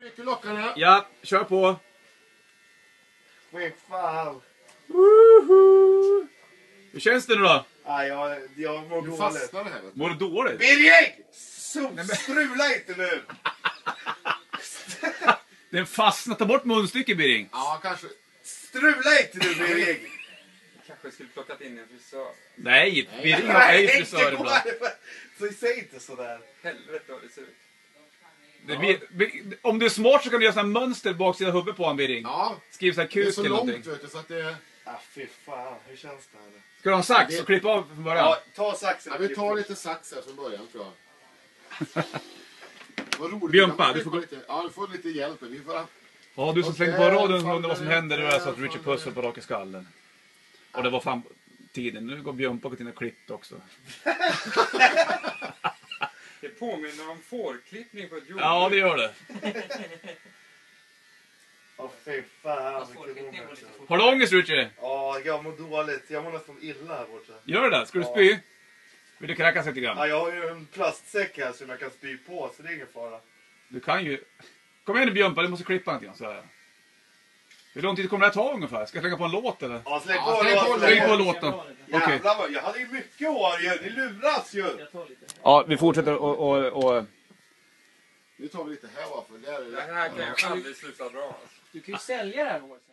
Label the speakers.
Speaker 1: Rycker lockarna.
Speaker 2: Ja, kör på.
Speaker 1: Men fan.
Speaker 2: Woho! Hur känns det nu då?
Speaker 1: Nej, jag, jag mår
Speaker 3: Du
Speaker 1: dåligt.
Speaker 3: fastnade här. vet du.
Speaker 2: Mår du dåligt?
Speaker 1: Birger! So- Strula inte nu!
Speaker 2: Den fastnar. Ta bort munstycket Birging.
Speaker 3: Ja, kanske.
Speaker 1: Strula inte nu Birger!
Speaker 4: Kanske skulle plockat in en frisör.
Speaker 2: Nej, Birging är ju
Speaker 1: Nej, inte
Speaker 2: frisör
Speaker 1: på
Speaker 2: ibland.
Speaker 1: det. Så säg inte sådär.
Speaker 4: Helvete vad det ser ut.
Speaker 2: Det blir, Birging- om du är smart så kan du göra såna här mönster baksida huvudet på honom Birging.
Speaker 3: Ja,
Speaker 2: Skriv såhär
Speaker 3: det är
Speaker 2: kuk
Speaker 3: så
Speaker 2: eller någonting.
Speaker 3: långt vet du så att det...
Speaker 1: Ah, fy fan, hur känns det här nu?
Speaker 2: Ska du ha en sax
Speaker 3: Det-
Speaker 2: och klippa av från början?
Speaker 1: Ja, ta saxen
Speaker 3: Ja,
Speaker 1: och
Speaker 3: vi
Speaker 1: klipp
Speaker 3: tar
Speaker 1: först.
Speaker 3: lite sax här från början tror jag. Vad roligt.
Speaker 2: Björnpa,
Speaker 3: Man
Speaker 2: du får
Speaker 3: klippa
Speaker 2: gå-
Speaker 3: lite. Ja, du får lite hjälp. Vi får...
Speaker 2: Ja, du som slängde på
Speaker 3: Okej,
Speaker 2: radion
Speaker 3: fan,
Speaker 2: undrar vad som
Speaker 3: det-
Speaker 2: händer. Det var så att
Speaker 3: fan,
Speaker 2: Richard
Speaker 3: det-
Speaker 2: Puss höll på att raka skallen. Och det var fan tiden. Nu går Björn på till sina klipp också.
Speaker 4: Det påminner om fårklippning på ett jordbruk.
Speaker 2: Ja, det gör det.
Speaker 1: Åh fy fan,
Speaker 5: Fast
Speaker 1: vilken
Speaker 5: folkriktningen går
Speaker 1: ångest.
Speaker 5: lite fort.
Speaker 2: Har du ångest Richie?
Speaker 1: Ja, jag mår dåligt. Jag mår nästan illa här borta.
Speaker 2: Gör det? Ska du
Speaker 1: Ja.
Speaker 2: spy? Vill du kräkas lite
Speaker 1: Ja,
Speaker 2: grann?
Speaker 1: jag har ju en plastsäck här som jag kan spy på, så det är ingen fara.
Speaker 2: Du kan ju... Kom igen nu Björnpa, du måste klippa någonting. Så här. Hur lång tid kommer det här ta ungefär? Ska jag slänga på en låt eller?
Speaker 1: Ja, släng
Speaker 3: Ja,
Speaker 1: på
Speaker 3: släng på
Speaker 1: låten.
Speaker 2: Släng på
Speaker 1: Släng på.
Speaker 2: låten. Okej.
Speaker 1: Jävlar vad, jag hade ju mycket hår ju. Ni luras ju.
Speaker 5: Jag tar lite.
Speaker 2: Ja, vi fortsätter och... och, och...
Speaker 3: Nu tar vi lite här bara för där är
Speaker 4: Det
Speaker 3: det...
Speaker 4: här kan jag aldrig sluta dra. alltså.
Speaker 5: Du kan ju sälja det här håret sen.